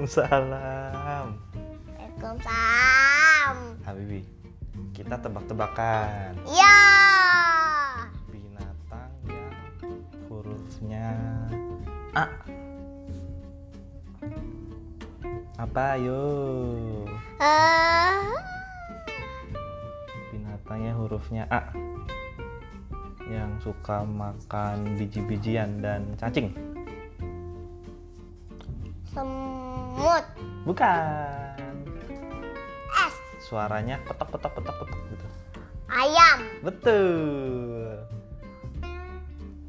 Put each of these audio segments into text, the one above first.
Waalaikumsalam. Waalaikumsalam. Habibi, kita tebak-tebakan Ya. binatang yang hurufnya A. Apa yo? Eh, Binatangnya hurufnya A. Yang suka makan biji-bijian dan cacing. semut. Bukan. Es. Suaranya petok-petok-petok-petok gitu. Ayam. Betul.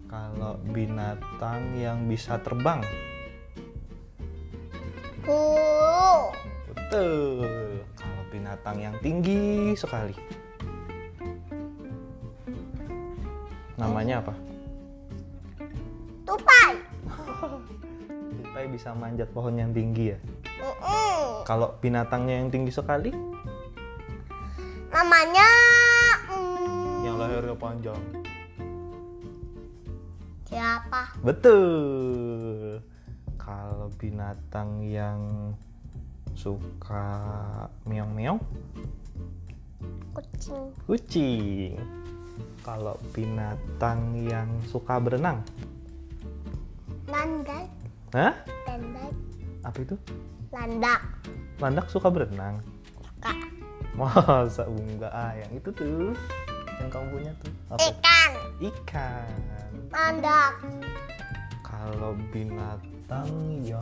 Kalau binatang yang bisa terbang. Burung. Betul. Kalau binatang yang tinggi sekali. Namanya apa? Tupai. Tupai bisa manjat pohon yang tinggi ya. Mm-mm. Kalau binatangnya yang tinggi sekali, Namanya. mm, yang lehernya panjang. Siapa? Betul. Kalau binatang yang suka meong-meong, Kucing. kucing. Kalau binatang yang suka berenang, Landai. hah? Landai. Apa itu? Landak. Landak suka berenang. Suka. Masa enggak ah yang itu tuh yang kamu punya tuh apa? Ikan. Ikan. Landak. Kalau binatang yang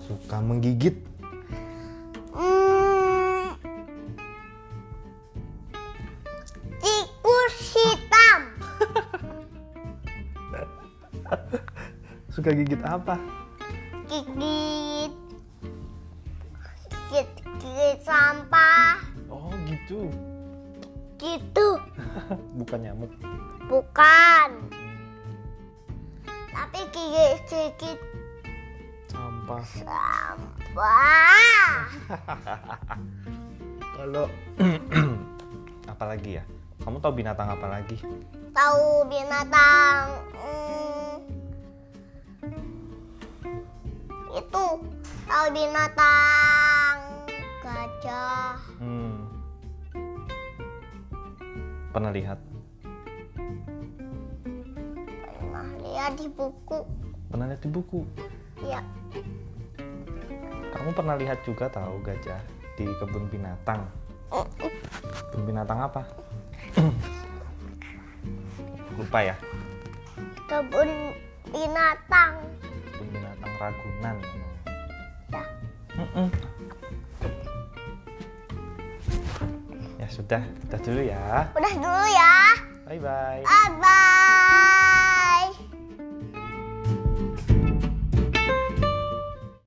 suka menggigit, Hmm. Tikus hitam. suka gigit apa? Gigit. Gigit, gigit sampah. Oh gitu, Gitu. bukan nyamuk. Bukan. Tapi gigit gigit Sampah. sampah. Kalau apalagi ya? Kamu tahu binatang apa lagi? Tahu binatang. hmm, itu tahu binatang gajah Hmm. Pernah lihat? pernah lihat di buku Pernah lihat di buku. ya Kamu pernah lihat juga tahu gajah di kebun binatang. Mm, Kebun binatang apa? Lupa ya. kebun binatang Kebun binatang Ragunan. ya Mm-mm. Ya sudah, sudah dulu ya. udah dulu ya Bye bye. bye